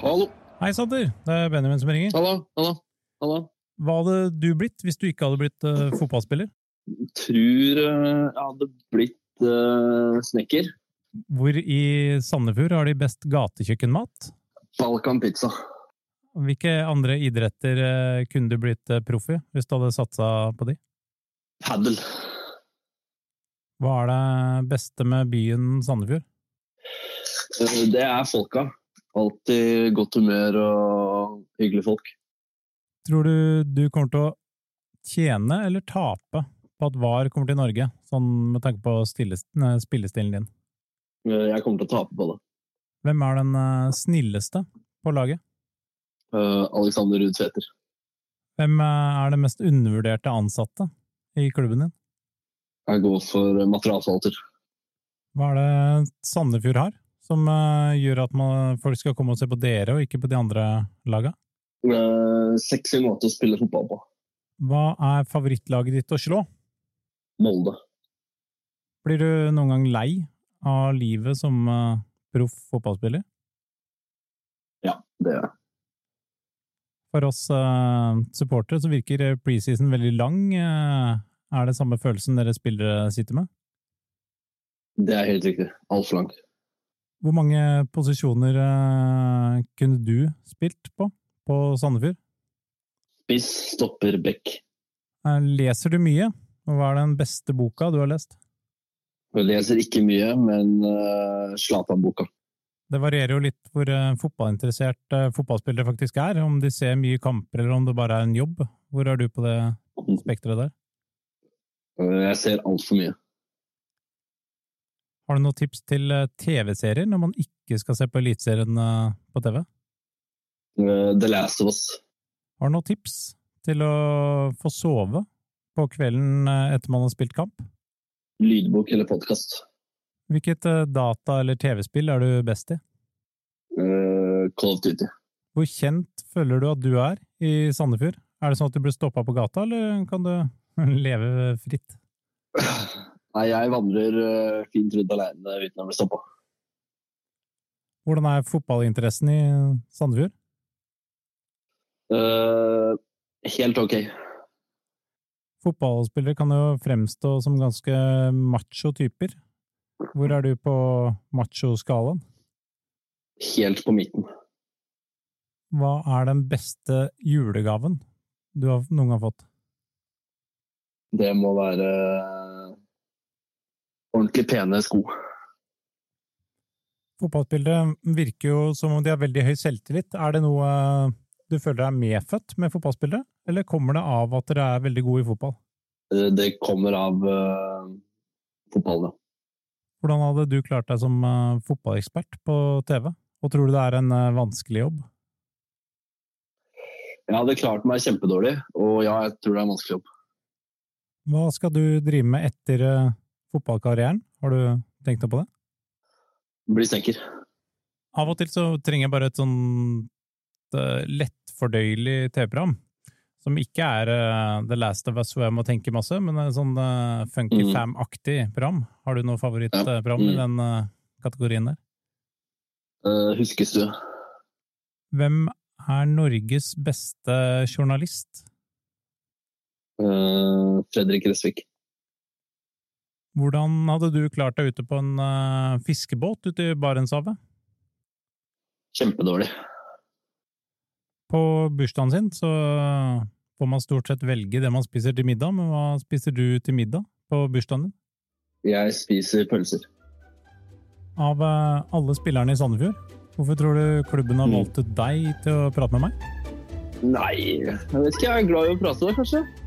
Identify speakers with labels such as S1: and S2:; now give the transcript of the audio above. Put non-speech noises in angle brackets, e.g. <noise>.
S1: Hei, Sander. Det er Benjamin som ringer.
S2: Hallo, hallo, hallo.
S1: Hva hadde du blitt hvis du ikke hadde blitt eh, fotballspiller?
S2: Tror eh, jeg hadde blitt eh, snekker.
S1: Hvor i Sandefjord har de best gatekjøkkenmat?
S2: Balkan pizza.
S1: Hvilke andre idretter eh, kunne du blitt eh, proff i hvis du hadde satsa på de?
S2: Paddel.
S1: Hva er det beste med byen Sandefjord?
S2: Eh, det er folka. Alltid godt humør og hyggelige folk.
S1: Tror du du kommer til å tjene eller tape på at VAR kommer til Norge, sånn med tanke på stilles- nei, spillestilen din?
S2: Eh, jeg kommer til å tape på det.
S1: Hvem er den eh, snilleste på laget?
S2: Eh, Alexander Ruud Tveter.
S1: Hvem eh, er den mest undervurderte ansatte i klubben din?
S2: Jeg går for materialforvalter.
S1: Hva er det Sandefjord har som eh, gjør at man, folk skal komme og se på dere, og ikke på de andre laga?
S2: Eh, sexy måte å spille fotball på.
S1: Hva er favorittlaget ditt å slå?
S2: Molde.
S1: Blir du noen gang lei av livet som eh, proff fotballspiller?
S2: Det er jeg.
S1: For oss eh, supportere så virker preseason veldig lang. Eh, er det samme følelsen dere spillere sitter med?
S2: Det er helt riktig. Altfor langt.
S1: Hvor mange posisjoner eh, kunne du spilt på på Sandefjord?
S2: Spiss, stopper, bekk.
S1: Eh, leser du mye? Og Hva er den beste boka du har lest?
S2: Jeg leser ikke mye, men eh, Zlatan-boka.
S1: Det varierer jo litt hvor eh, fotballinteressert eh, fotballspillere faktisk er. Om de ser mye kamper, eller om det bare er en jobb. Hvor er du på det spekteret der?
S2: Eh, jeg ser altfor mye.
S1: Har du noen tips til eh, TV-serier når man ikke skal se på Eliteserien eh, på TV?
S2: Eh, The Last of Us.
S1: Har du noen tips til å få sove på kvelden eh, etter man har spilt kamp?
S2: Lydbok eller podkast?
S1: Hvilket eh, data- eller TV-spill er du best i?
S2: Eh, Call of Duty.
S1: Hvor kjent føler du at du er i Sandefjord? Er det sånn at du blir stoppa på gata, eller kan du <laughs> leve fritt?
S2: Nei, jeg vandrer eh, fint rundt alene uten å bli stoppa.
S1: Hvordan er fotballinteressen i Sandefjord?
S2: Eh, helt ok.
S1: Fotballspillere kan jo fremstå som ganske macho typer. Hvor er du på macho-skalaen?
S2: Helt på midten.
S1: Hva er den beste julegaven du har noen gang fått?
S2: Det må være eh, ordentlig pene sko.
S1: Fotballspillere virker jo som om de har veldig høy selvtillit. Er det noe du føler er medfødt med fotballspillere, eller kommer det av at dere er veldig gode i fotball?
S2: Eh, det kommer av eh, fotballen, ja.
S1: Hvordan hadde du klart deg som eh, fotballekspert på TV? Og tror du det er en eh, vanskelig jobb?
S2: Jeg hadde klart meg kjempedårlig, og ja, jeg tror det er en vanskelig jobb.
S1: Hva skal du drive med etter eh, fotballkarrieren? Har du tenkt noe på det?
S2: Bli senker.
S1: Av og til så trenger jeg bare et sånn eh, lettfordøyelig TV-program. Som ikke er eh, The Last of Us hvor jeg må tenke masse, men eh, sånn eh, Funky
S2: Mm.
S1: Fam-aktig program. Har du noe
S2: Ja.
S1: favorittprogram i
S2: Mm.
S1: den eh, kategorien der?
S2: Eh, huskes du?
S1: Hvem er Norges beste journalist?
S2: Eh, Fredrik Resvik.
S1: Hvordan hadde du klart deg ute på en eh, fiskebåt ute i Barentshavet?
S2: Kjempedårlig.
S1: På bursdagen sin så får man stort sett velge det man spiser til middag, men hva spiser du til middag på bursdagen din?
S2: Jeg spiser pølser.
S1: Av eh, alle spillerne i Sandefjord, hvorfor tror du klubben har
S2: Mm.
S1: valgt ut deg til å prate med meg?
S2: Nei, jeg vet ikke. Jeg er glad i å prate, da, kanskje.